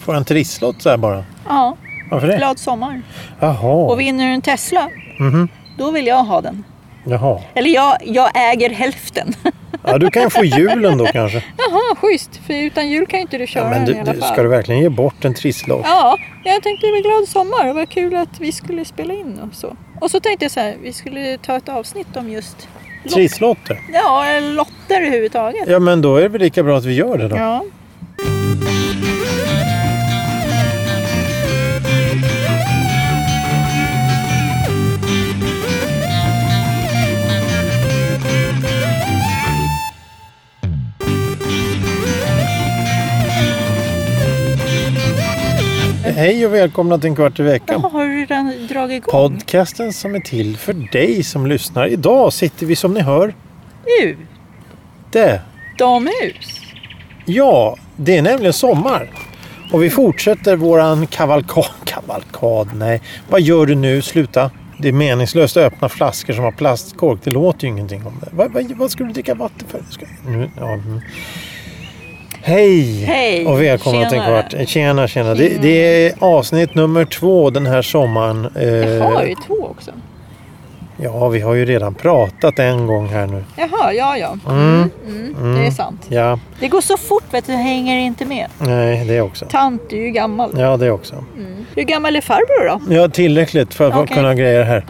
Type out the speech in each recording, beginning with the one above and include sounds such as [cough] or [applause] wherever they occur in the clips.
Får en turistlott så här bara? Ja, Varför det? glad sommar. Jaha. Och vinner du en Tesla, Mhm. då vill jag ha den. Jaha. Eller jag, jag äger hälften. Ja, du kan få julen då kanske. [laughs] Jaha, schysst. För utan jul kan ju inte du köra Ja, men den du, i alla du, fall. ska du verkligen ge bort en trisslott? Ja, jag tänkte det var glad sommar. Det var kul att vi skulle spela in och så. Och så tänkte jag så här, vi skulle ta ett avsnitt om just Trisslotter? ja, lotter överhuvudtaget. Ja, men då är det väl lika bra att vi gör det då. Ja. Hej och välkomna till en kvart i Jaha, veckan. har du redan dragit igång? Podcasten som är till för dig som lyssnar. Idag sitter vi som ni hör Utomhus. ute. Ja, det är nämligen sommar. Och vi fortsätter våran kavalkad. [laughs] Kavalkad? Nej. Vad gör du nu? Sluta. Det är meningslöst att öppna flaskor som har plastkork. Det låter ju ingenting om det. Vad, vad, vad ska du dricka vatten för? Ska, nu, ja, mm. Hej! Hej. Och välkomna till en Tjenare. kvart. Eh, Tjena, tjena. Det, det är avsnitt nummer två den här sommaren. Eh, Jag har ju två också. Ja, vi har ju redan pratat en gång här nu. Jaha, ja ja. Mm. Mm, Det är Mm. sant. Ja, Det går så fort vet du, jag hänger inte med. nej, det också. Tant, du är ju gammal. Ja, det också. Hur gammal är farbror då? Ja, tillräckligt för att Okej. Mm. kunna greja det här.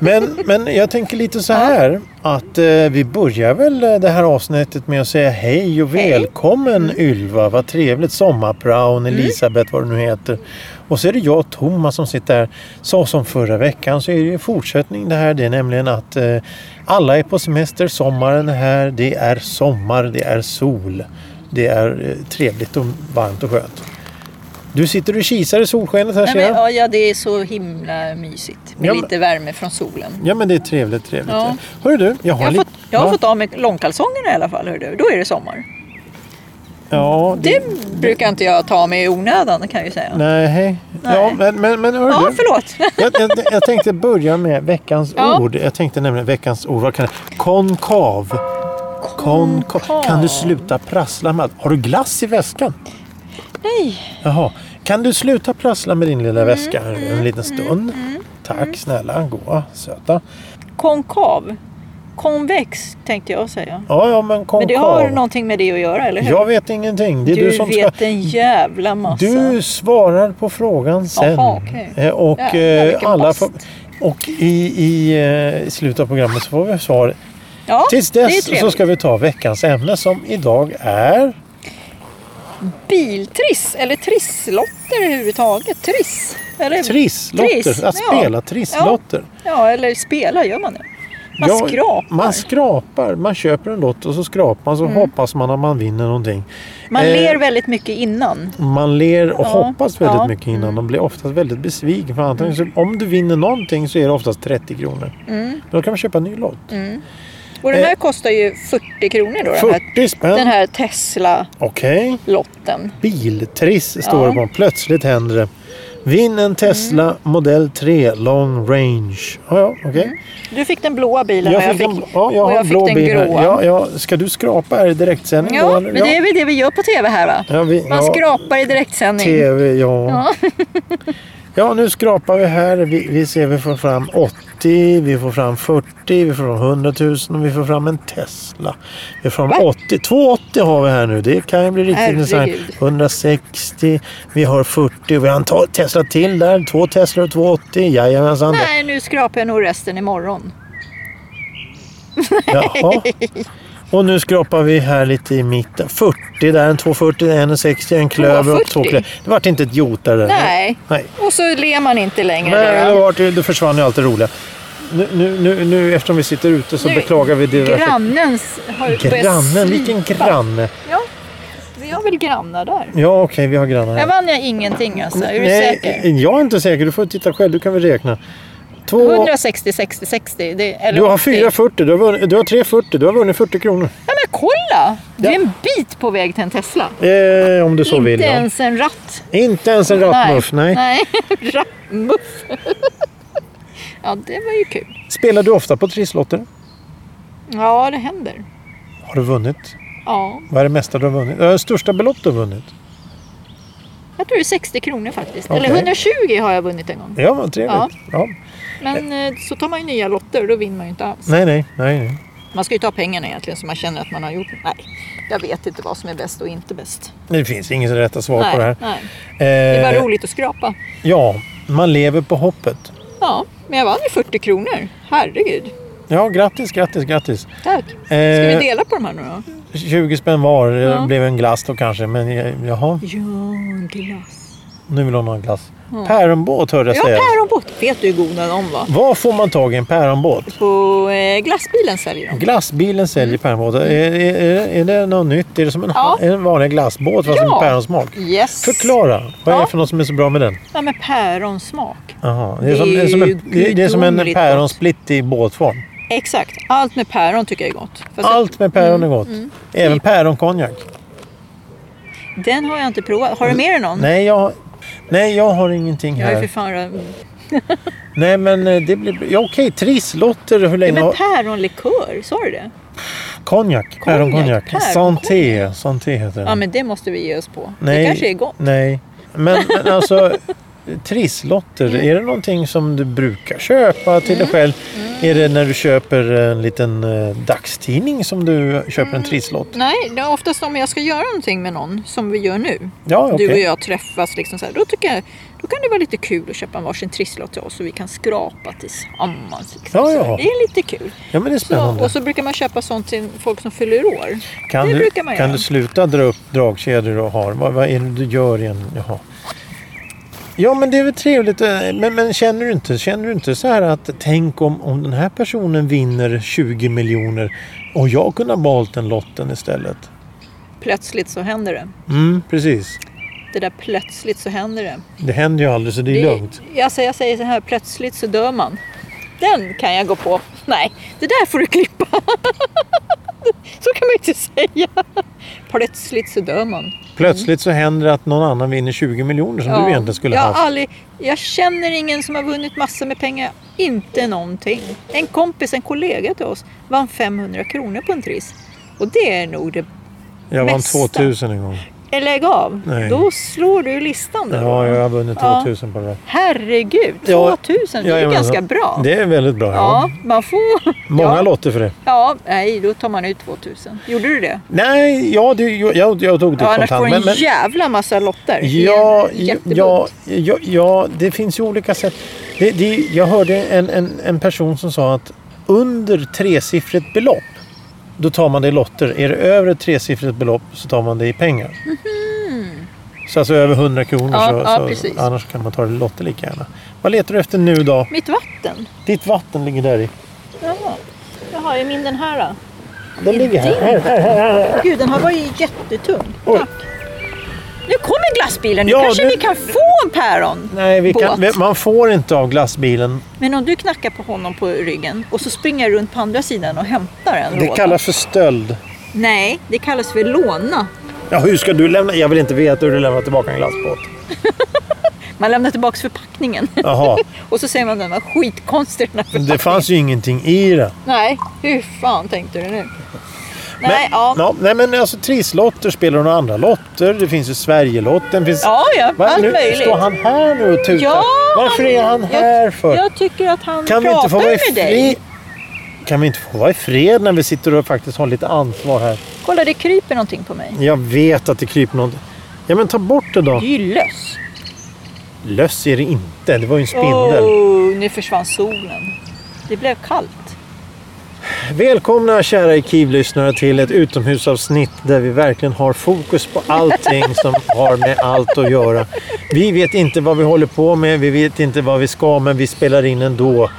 men, men jag tänker lite [laughs] så här att eh, vi börjar väl eh, det här avsnittet med att säga hej och Hej. Mm. välkommen Ylva. Vad trevligt. Sommarpraon, Elisabeth, vad du nu heter. Och så är det jag och Thomas som sitter här. Så som förra veckan så är det ju fortsättning det här. Det är nämligen att eh, alla är på semester, sommaren är här, det är sommar, det är sol. Det är eh, trevligt och varmt och skönt. Du sitter och kisar i solskenet här Nej, ser jag. men, ja, ja, det är så himla mysigt. Med Ja, men- lite värme från solen. Ja men det är trevligt, trevligt. Ja. Hörru du, jag har, Jag har, lite... fått, jag har ja, fått av mig långkalsongerna i alla fall. Hör du. Då är det sommar. Ja, det... Det brukar inte jag ta mig i onödan kan jag ju säga. Nej, hej. Nej. Ja, men, men, men hörru Ja, du. förlåt. [laughs] Jag, jag, jag tänkte börja med veckans Ja. ord. Jag tänkte nämligen veckans ord. Vad kan det? Konkav. Konkav. Kan du sluta prassla med allt? Har du glass i väskan? Nej. Jaha. Kan du sluta prassla med din Mm, lilla väska här en liten stund? Tack snälla, goa, söta. Konkav. Konvex tänkte jag säga. Ja, ja men konkav. Men det har någonting med det att göra, eller hur? Jag vet ingenting. Det är du, du som ska vet en jävla massa. Du svarar på frågan sen. Alltså. Jaha, okej. Eh, Och, Jävlar, eh, vilken alla bast. får, och i, i eh, slutet av programmet så får vi svar. ja, Tills det är dess trevligt. så ska vi ta veckans ämne som idag är... Biltriss, eller trisslotter överhuvudtaget. Triss. Eller... Trisslotter, Triss, att ja. spela trisslotter. Ja, eller spela gör man det. Man Ja, skrapar. Mm. Man skrapar, man köper en lott och så skrapar man så hoppas man att man vinner någonting. Man Eh, ler väldigt mycket innan. Man ler och Ja, hoppas väldigt ja. Mm. mycket innan. De blir oftast väldigt besvikna. För antingen, så, om du vinner någonting så är det oftast 30 kronor. Mm. Då kan man köpa en ny lott. Och den här eh, kostar ju 40 kronor då. Den här, 40 spänn. den här Tesla-lotten. Okej. Biltriss står Ja. Mm. det på. Plötsligt händer det. Vinn en Tesla modell 3 long range. Ja, ja, okej. Du fick den blåa bilen och Mm. jag fick, en- ja, jag och har jag en fick blå den bil här. gråa. Ja, ja. Ska du skrapa här i direktsändning Ja, då? eller? men det är väl det vi gör på TV här va? ja, vi, Man ja, skrapar i direktsändning. TV, ja. Ja. [laughs] nu skrapar vi här. Vi, vi ser vi får fram 80, vi får fram 40, vi får fram 100 000 och vi får fram en Tesla. Vi får fram Va? 80, 280 har vi här nu. Det kan ju bli riktigt Herregud. intressant. 160, vi har 40 och vi har en ta- Tesla till där. Två Tesla och 280. Jajamensan. Nej, nu skrapar jag nog resten imorgon. Jaha. Och nu skrapar vi här lite i mitten. 40 där, en 240, en 60, en klöver och två 240. klöver. Det vart inte ett jota där. Nej. Nej. Och så ler man inte längre. Nej, där. det, var det, det försvann ju allt det roliga. Nu, nu, nu, nu eftersom vi sitter ute så Nu- beklagar vi det. Grannens har ju börjat Grannen, vilken slipa. granne? Ja, vi har väl grannar där. Ja, okej, vi har grannar Där här. vann jag ingenting alltså, är du Nej, eh, säker? jag är inte säker. Du får titta själv. Du kan väl räkna. Två... 160, 60, 60. Det, eller Du har 80. 440, du har, vunnit, du har 340, du har vunnit 40 kronor. Ja, men kolla! Du är Ja. en bit på väg till en Tesla. Eh, om du så inte vill. ja. ens en ratt. Inte ens en rattmuff, nej. Nej, [laughs] rattmuff. ja, det var ju kul. Spelar du ofta på trisslotter? Ja, det händer. Har du vunnit? Ja, Vad är det mesta du har vunnit? Eh, största belopp du har vunnit? Jag tror det är 60 kronor faktiskt. Okej. Eller 120 har jag vunnit en gång. Ja, vad trevligt. Ja. Men eh, så tar man ju nya lotter och då vinner man ju inte alls. Nej, nej, nej. nej. Man ska ju ta pengarna egentligen så man känner att man har gjort Nej, jag vet inte vad som är bäst och inte bäst. Det finns inget rätta svar nej, på det här. nej. Det Eh, är bara roligt att skrapa. Ja, man lever på hoppet. Ja, men jag vann ju 40 kronor. Herregud. Ja, grattis, grattis, grattis. Tack. Ska vi Eh, dela på de här nu då? 20 spänn var, det Ja. blev en glass då kanske. Men eh, jaha, Ja, glass. nu vill hon ha en glass. Ja. Päronbåt hörde jag Ja, säga. päronbåt. Vet du hur god den var? Var får man tag i en päronbåt? På eh, glassbilen säljer de. Glassbilen säljer päronbåtar. Är, är, är, eh, är det något nytt? Är det som en, Mm. Ja. är det en vanlig glassbåt fast Ja. med päronsmak? Yes. Förklara, vad är det Ja. för något som är så bra med den? Ja, med päronsmak. Aha. Det, är Det som, det, är är som ju en, det det är som en gudomligt päronsplitt i båtform. Exakt. Allt med päron tycker jag är gott. Fast Allt med päron är Mm, gott. Även päronkonjak. Den har jag inte provat. Har du med dig någon? Nej jag, nej, jag har ingenting Jag är för här. fan... röd. Nej, men eh, det blir... Ja, okej, trisslotter. Hur Ja, länge men har... päronlikör, sa du det? Konjak. Päronkonjak. päronkonjak. Santé. Santé heter den. Ja, men det måste vi ge oss på. nej, Det kanske är gott. Nej. Men, men alltså, trisslotter. Mm. Är det någonting som du brukar köpa till dig själv? Mm. Är det när du köper en liten eh, dagstidning som du köper Mm. en trisslott? Nej, det är oftast om jag ska göra någonting med någon, som vi gör nu. Ja, okej. Du och jag träffas, liksom så här, då, tycker jag, då kan det vara lite kul att köpa en varsin trisslott till oss så vi kan skrapa tillsammans. Liksom. Ja, Så ja. Det är lite kul. Ja, men det är Så, spännande. och så brukar man köpa sånt till folk som fyller år. kan det du, brukar man kan göra. du sluta dra upp dragkedjor och har? Vad, vad är det du gör igen? Jaha. Ja, men det är väl trevligt. eh, Men, men känner, du inte, känner du inte så här att tänk om, om den här personen vinner 20 miljoner och jag kunde ha valt den lotten istället? Plötsligt så händer det. Mm, precis. Det där plötsligt så händer det. Det händer ju aldrig så det är lugnt. Alltså, jag säger så här, plötsligt så dör man. Den kan jag gå på. Nej, det där får du klippa. [laughs] så kan man inte säga. Plötsligt så dör man. Plötsligt Mm. så händer det att någon annan vinner 20 miljoner som du egentligen skulle jag, har haft. aldrig, jag känner ingen som har vunnit massor med pengar. Inte någonting. En kompis, en kollega till oss, vann 500 kronor på en triss. Och det är nog det... Jag vann mesta. 2000 en gång. Eller Eh, lägg av! Nej. Då slår du listan där. Ja, jag har vunnit Ja. 2000 på det där. Herregud! Ja, 2000, det är ju Jajamensan. ganska bra. Det är väldigt bra. Ja. Ja, man får... Många ja. lotter för det. Ja, nej, då tar man ut 2000. Gjorde du det? Nej, ja, det, jag, jag, jag tog det Ja, annars kontant. får du en Men, men, jävla massa lotter. Det är ja, en ja, jättebunt. ja, ja, ja, det finns ju olika sätt. Det, det, jag hörde en, en, en person som sa att under tresiffrigt belopp då tar man det i lotter. Är det över ett tresiffrigt belopp så tar man det i pengar. Så alltså över 100 kronor Mhm. Ja, så, ja, så precis. annars kan man ta det i lotter lika gärna. Vad letar du efter nu då? Mitt vatten. Ditt vatten ligger där i. Jaha. Jaha, är min den här då? Den ligger här. här, här, här, här. Gud, den här var ju jättetung. Oj. Tack. Nu kommer glassbilen. Nu Ja, kanske nu- vi kan få en päron. Nej, vi kan, Båt. man får inte av glassbilen. Men om du knackar på honom på ryggen och så springer jag runt på andra sidan och hämtar en Det låda. kallas för stöld. Nej, det kallas för låna. Ja, hur ska du lämna? Jag vill inte veta hur du lämnar tillbaka en glassbåt. Man lämnar tillbaka förpackningen. [laughs] Jaha, och så säger man att den var skitkonstig den men här förpackningen. det fanns ju ingenting i den. Nej, hur fan tänkte du nu? Men, Nej, ja. ja, nej, men alltså trisslotter spelar du några andra lotter. Det finns ju Sverigelotten. Finns... Ja, ja, Va, allt nu möjligt. Står han här nu och tutar? Ja, Varför är han här för? Jag, jag tycker att han kan vi pratar inte få vara i med dig. fred? Kan vi inte få vara i fred när vi sitter och faktiskt har lite ansvar här? Kolla, det kryper någonting på mig. Jag vet att det kryper någonting. Ja, men ta bort det då. Det är ju löss. Löss är det inte. Det var ju en spindel. Oh, nu försvann solen. Det blev kallt. Välkomna kära Ekiv-lyssnare till ett utomhusavsnitt där vi verkligen har fokus på allting som har med allt att göra. Vi vet inte vad vi håller på med, vi vet inte vad vi ska, men vi spelar in ändå.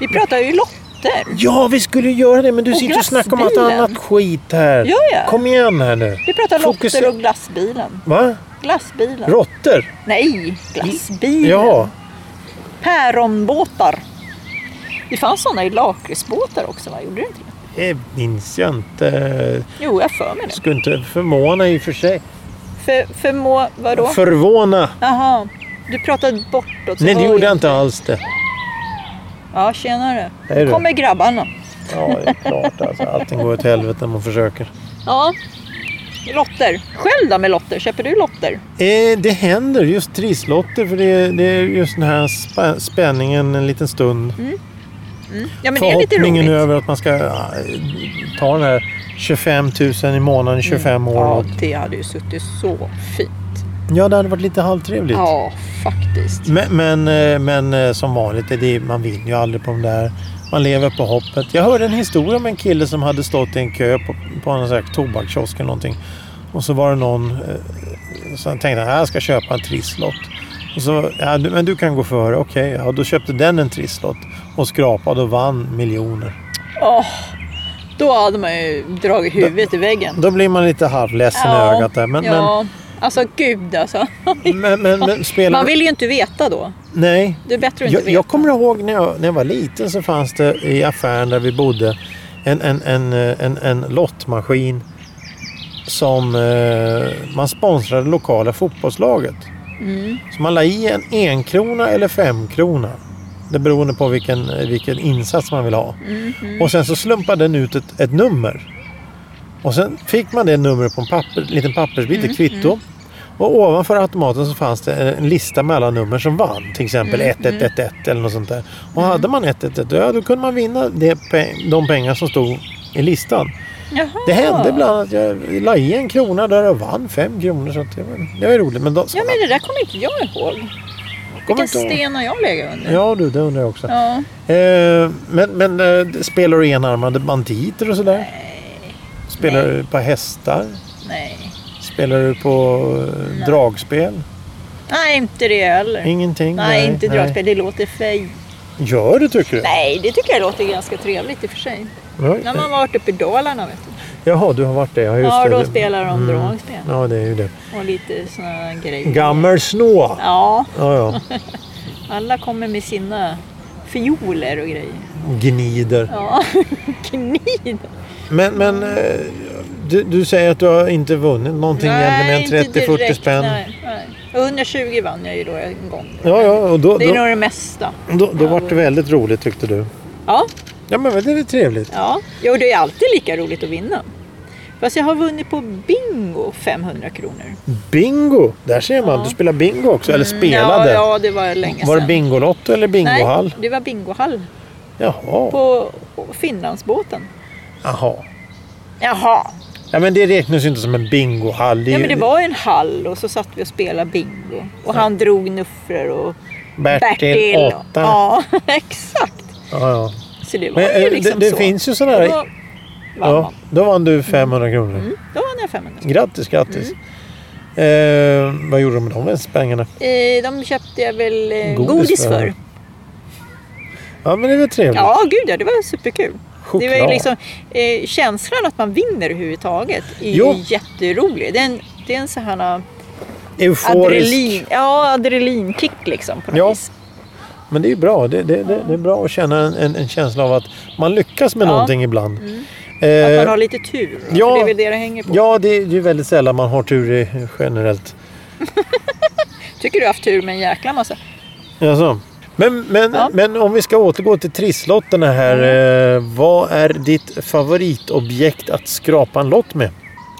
Vi pratar ju lotter. Ja, vi skulle ju göra det, men du Och sitter och snackar om allt glassbilen. annat skit här. Ja, ja. Kom igen här nu. Vi pratar Fokus- lotter och glassbilen. Va? Glassbilen. Råttor? Nej, glassbilen. Jaha. Päronbåtar. Det fanns sådana i lakritsbåtar också, va? Gjorde det inte det? Det minns jag inte. Jo, jag har för mig det. Skulle inte förvåna i och för sig. För, förmå... Vadå? Förvåna? Jaha. Du pratade bortåt. så Nej, det var gjorde jag inte alls det. Ja, tjenare. Hej Nu då. kommer grabbarna. Ja, det är klart alltså. Allting går åt helvete när man försöker. Ja. Lotter. Själv då med lotter? Köper du lotter? Eh, det händer just trisslotter för det, det är just den här spä- spänningen en liten stund. Mm. Ja, men det är lite Förhoppningen roligt. över att man ska ja, ta den här 25 000 i månaden i 25 år. Mm. Ja, Ja. det hade ju suttit så fint. ja, det hade varit lite halvtrevligt. Ja, faktiskt. Men, men, eh, men eh, som vanligt, är det, man vinner ju aldrig på de där. Man lever på hoppet. Jag hörde en historia om en kille som hade stått i en kö på, på någon sån här tobakskiosk eller någonting. Och så var det någon eh, som tänkte att jag ska köpa en trisslott. Och så, ja, du, men du kan gå före. Okej, ja, då köpte den en trisslott och skrapade och vann miljoner. Åh, då hade man ju dragit huvudet i väggen. Då blir man lite halvledsen i ögat där. Men, ja. Alltså gud alltså. men, men, men, men spelar... Man vill ju inte veta då. Nej, Det är bättre att inte Jag, veta. jag kommer ihåg när jag, när jag var liten så fanns det i affären där vi bodde en, en, en, eh, en, en lottmaskin som eh, man sponsrade lokala fotbollslaget. Mm. Så man la i en enkrona eller femkrona. Det beroende på vilken, eh, vilken insats man vill ha. Mm, mm. Och sen så slumpade den ut ett, ett nummer. Och sen fick man det numret på en papper, liten pappersbit, Mm, ett kvitto. Och ovanför automaten så fanns det en lista med alla nummer som vann. Till exempel Mm, 1111 eller något sånt där. Och hade man 1111, ja då kunde man vinna det, pe- de pengar som stod i listan. Jaha. Det hände ibland att jag la i en krona där och vann fem kronor. Så att det, var, det var ju roligt. Men då, Ja men det där kommer inte jag ihåg. kommer Vilken inte ihåg. sten har jag legat under? Ja du, det undrar jag också. Ja. Eh, men men eh, spelar du enarmade banditer och sådär? Nej. Spelar du på hästar? Nej. Spelar du på eh, dragspel? Nej, inte det heller. Ingenting? Nej, inte dragspel. Det låter fej. Nej. Gör du tycker du? Nej, det tycker jag låter ganska trevligt i och för sig. Nej. När man har varit uppe i Dalarna vet du. Jaha, du har varit det. Ja, just Ja, det. då Det- spelar de dragspel. Ja, det är ju det. Och lite sådana grejer. Gammelsnå! Ja, Ja, ja. alla kommer med sina fioler och grejer. Gnider. Ja, [laughs] gnid. Men, men eh, du, du säger att du har inte vunnit någonting Nej, egentligen inte med en 30-40 direkt, spänn. Nej, nej. 120 vann jag ju då en gång. Ja, ja, och då, Det är då, nog det mesta. då, då var det väldigt roligt tyckte du. Ja, Ja, men det är väl trevligt. ja. Jo, det är alltid lika roligt att vinna. Fast jag har vunnit på bingo 500 kronor. Bingo! Där ser man, Ja. Mm, du spelar bingo också, eller Ja, spelade. ja, det var länge var det sedan. Bingolotto eller bingohall? Nej, det var bingohall Jaha. på på Finlandsbåten. Jaha. Jaha. Ja, men det räknas ju inte som en bingohall. Ja, är men det ju- var ju en hall och så satt vi och spelade bingo. Och han drog nuffror och Bertil, Bertil. åtta. Ja, [laughs] exakt. Ja, ja. Så det var Men, ju eh, liksom det, det så. finns ju Då sådana vann där... Ja, man. då vann du 500 kronor. Mm, då vann jag 500 Grattis, grattis. Eh, vad gjorde du med de pengarna? Eh, de köpte jag väl eh, Godis godis, för. för. Ja, men det är väl trevligt. Ja, gud ja, det var superkul. Choklad. Det var ju liksom eh, känslan att man vinner överhuvudtaget. är ju Jo. jätterolig. Det är en, det är en sån här eh, Euforisk. adrenalin, ja, adrenalinkick liksom på något Ja. vis. Men det är ju bra. Det, det, det, det är bra att känna en, en, en känsla av att man lyckas med Ja. Mm. någonting ibland. Att Eh, man har lite tur. ja. Ja. Det är väl det det hänger på. Ja, det är ju väldigt sällan man har tur i, generellt. Tycker du har haft tur med en jäkla massa. Alltså. Men, men, Ja. Mm. men om vi ska återgå till trisslotterna här. Eh, vad är ditt favoritobjekt att skrapa en lott med?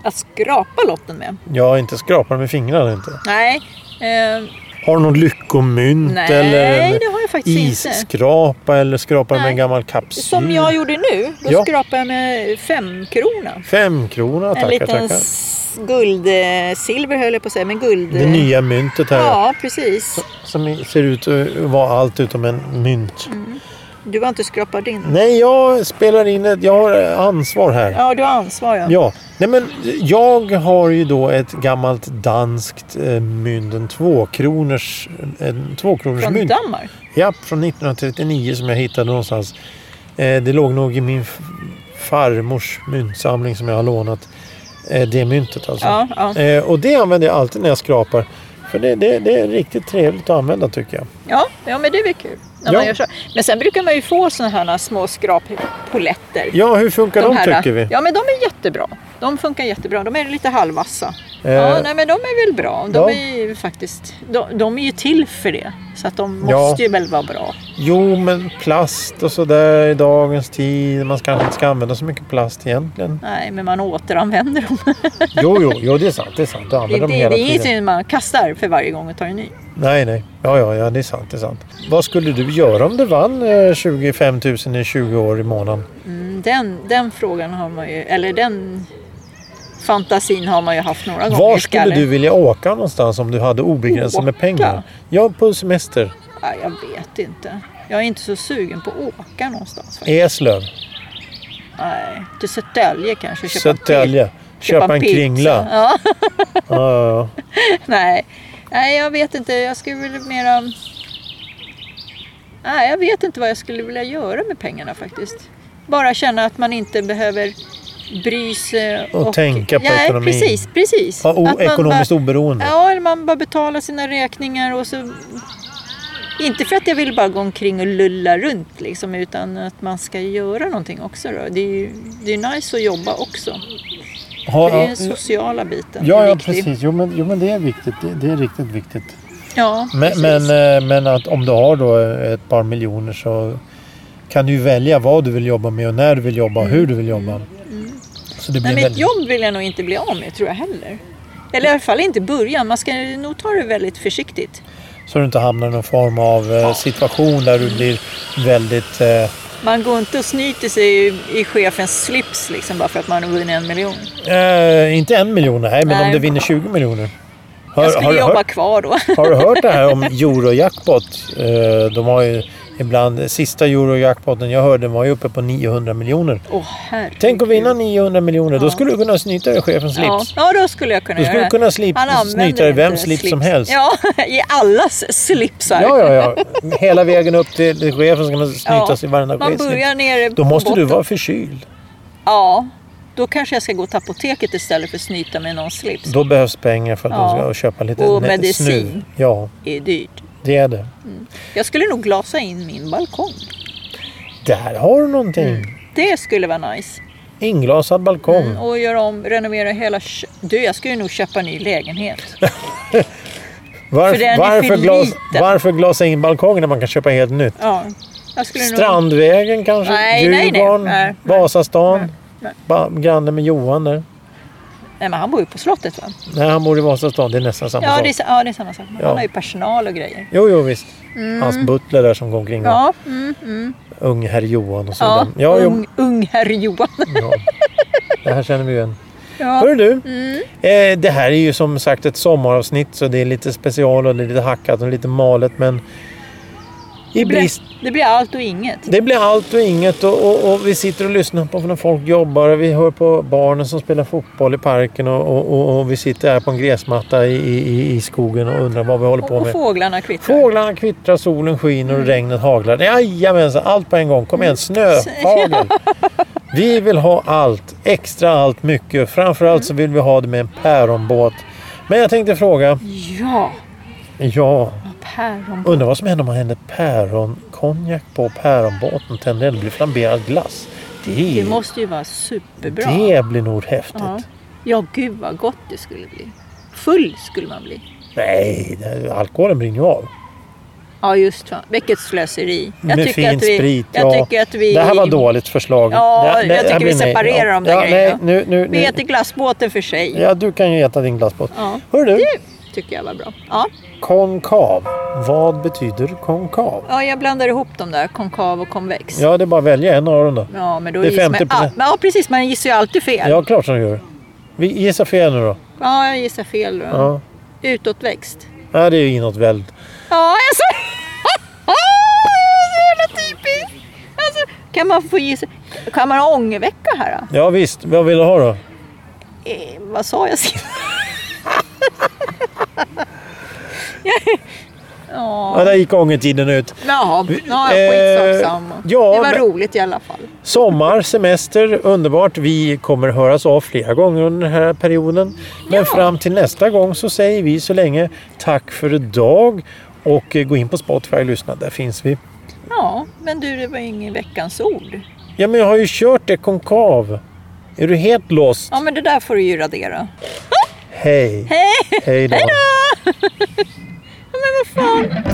Att skrapa lotten med. Ja, inte skrapa med fingrarna inte. Nej, eh, Har du någon lyckomynt nej eller en det har jag faktiskt inte. isskrapa eller skrapa med Nej. en gammal kapsyl? Som jag gjorde nu, då Ja. skrapade jag med femkrona. Femkrona, En tackar, liten tackar. s- guld, eh, silver höll jag på att säga, men guld... Det nya myntet här Ja, precis. som ser ut att vara allt utom en mynt. Mm. Du har inte skrapat din. Nej, jag spelar in ett... Jag har eh, ansvar här. Ja, du har ansvar ja. Ja, nej men jag har ju då ett gammalt danskt eh, mynt, en tvåkronors, en Från tvåkronorsmynt. Danmark. Ja, från 1939 som jag hittade någonstans. Eh, det låg nog i min f- farmors myntsamling som jag har lånat. Eh, det myntet alltså. Ja, ja. Eh, och det använder jag alltid när jag skrapar. För det, det, det är riktigt trevligt att använda tycker jag. Ja, ja, men det är väl kul. När Ja. man gör så. Men sen brukar man ju få såna här små skrappoletter. Ja, hur funkar de, här, tycker vi? Ja, men de är jättebra. De funkar jättebra. De är lite halvvassa. Ja, Eh, nej, men de är väl bra. De ja. är ju faktiskt... De, de är ju till för det. Så att de måste Ja. ju väl vara bra. Jo, men plast och sådär i dagens tid. Man kanske inte ska använda så mycket plast egentligen. Nej, men man återanvänder dem. Jo, jo, jo det är sant. Det är sant. Du Det, det, använder dem det hela är tiden. inget man kastar för varje gång och tar en ny. Nej, nej. Ja, ja, ja, det är sant. Det är sant. Vad skulle du göra om du vann eh, 25 000 i 20 år i månaden? Mm, den, den frågan har man ju... Eller den fantasin har man ju haft några gånger Var i skulle skallen. du vilja åka någonstans om du hade obegränsat med Åka? pengar? Ja, på semester. Ja, jag vet inte. Jag är inte så sugen på att åka någonstans. E faktiskt. Eslöv, Nej, till Södertälje kanske. Köpa en Eh. Södertälje. pi- Köpa en pizza. kringla. [laughs] Ja, Ja, ja, ja. nej. nej, jag vet inte. Jag skulle vilja mera... Nej, jag vet inte vad jag skulle vilja göra med pengarna faktiskt. Bara känna att man inte behöver bry sig. Och tänka på nej, ekonomin. Precis, precis. Ha Att o- man ekonomiskt bara... oberoende. Ja, eller man bara betalar sina räkningar och så... Inte för att jag vill bara gå omkring och lulla runt liksom, utan att man ska göra någonting också. Då. Det är ju det är nice att jobba också. Ha- För det är ja, den sociala biten. Ja, är ja viktig. precis. Jo men, jo, men det är viktigt. Det, det är riktigt viktigt. Ja, Men, precis. men, eh, men att om du har då ett par miljoner så kan du ju välja vad du vill jobba med och när du vill jobba och hur du vill jobba. Så det blir Mm. Nej, men ett väldigt... jobb vill jag nog inte bli av med, tror jag heller. Eller i alla fall inte i början. Man ska nog ta det väldigt försiktigt. Så du inte hamnar i någon form av eh, situation där du blir väldigt... Eh, Man går inte och snyter sig i, i chefens slips liksom, bara för att man har vunnit en miljon. eh, inte en miljon, nej, men Nej. om du vinner 20 miljoner. Har, Jag skulle har, du jobba hört, kvar då. har du hört det här [laughs] om Eurojackpot? Eh, de har ju ibland... Sista Eurojackpoten jag hörde var ju uppe på 900 miljoner. Åh, herregud. Tänk att vinna 900 miljoner, då Ja. skulle du kunna snyta dig chefens Ja. slips. ja, då skulle jag kunna Du göra skulle det. kunna slip, Han använder snyta dig inte vems slips som helst. Ja, i allas slipsar. Ja, ja, ja. [laughs] Hela vägen upp till till chefen ska man snyta sig i varenda Man chefslips. börjar nere Då på måste du botten. vara förkyld. Ja, då kanske jag ska gå till apoteket istället för att snyta med någon slips. Då behövs pengar för att Ja. du ska köpa lite Och nä- medicin. snu. Ja, Det är dyrt. det är det. Jag skulle nog glasa in min balkong. Där har du någonting. Det skulle vara nice. Inglasad balkong. Mm, och göra om, renovera hela... kö- Du, jag skulle nog köpa en [laughs] ny lägenhet. Varför, den är varför, för glas, liten. varför glasa in balkongen när man kan köpa helt nytt? Ja, jag skulle nog... Strandvägen kanske? Nej, nej, nej. Djurgården? Nej, nej. Vasastan? Nej, nej. Ba- Granne med Johan där? Nej, men han bor ju på slottet va? Nej, han bor i Vasastan. Det är nästan samma Ja sak. det, är, sa- ja, det är samma sak. Men Ja. Han har ju personal och grejer. Jo, jo, visst. Hans butler där som går omkring. Ja. Mm. Ja, mm, mm. Ung herr Johan och ja, sådant. Ja, jo. ung, ung herr Johan. ja. Det här känner vi ju igen. Ja. Mm. Hör du, eh, det här är ju som sagt ett sommaravsnitt så det är lite special och det är lite hackat och lite malet men i Det, blir, brist, det blir allt och inget. det blir allt och inget och, och, och vi sitter och lyssnar på när folk jobbar och vi hör på barnen som spelar fotboll i parken och, och, och, och vi sitter här på en gräsmatta i, i, i- i skogen och undrar vad vi håller Och, på och med. fåglarna kvittrar. Fåglarna kvittrar, solen skiner Mm. och regnet haglar. Jajamensan, allt på en gång. Kom igen, [laughs] snöhagel. Vi vill ha allt, extra allt, mycket. Framförallt så vill vi ha det med en päronbåt. Men jag tänkte fråga, Ja, ja, päron. undrar vad som händer om man händer päronkonjak på päronbåten? Tänder eld, blir flamberad glass. Det Det, måste ju vara superbra. det blir nog häftigt. Ja. ja, gud vad gott det skulle bli. Full skulle man bli. Nej, det- alkoholen brinner ju av. Ja, just det. Vilket slöseri. Jag med tycker fin att vi, sprit. Jag tycker att vi... Det här var dåligt förslag. Ja, Det här- jag det här tycker vi blir nej. separerar ja. de där ja, grejerna. Nej, nu, nu, Vi nu. äter glassbåten för sig. Ja, du kan ju äta din glassbåt. Ja. Hör du, Det tycker jag var bra. Ja. konkav. Vad betyder konkav? ja, jag blandar ihop de där, konkav och konvex. Ja, det är bara att välja en av dem då. Ja, men då Det är gissar man... 50%. Ja, men- ja, precis. Man gissar ju alltid fel. Ja, Ja, klart som du gör. Vi gissar fel nu då. jag gissar fel då. Ja. Utåtväxt. Nej, det är ju inåtvänd. Ja, jag [laughs] sa... Ah, det är jävla typiskt! Alltså, kan man få gissa... Kan man ha ångervecka här då? Ja, visst. Vad vill du ha då? Eh, vad sa jag sist? [laughs] ja, Ja, där gick ångertiden ut. jaha. Ja, Eh, skitsamma. ja, det var men- roligt i alla fall. Sommar, semester, underbart. Vi kommer höras av flera gånger under den här perioden. Men fram till nästa gång så säger vi så länge tack för idag. Och eh, gå in på Spotify och lyssna, där finns vi. Ja, men du, det var ingen veckans ord. Ja, men jag har ju kört det konkav. Är du helt lost? Ja, men det där får du ju radera. Hej! Hej! Hej då! Ja, men vad fan.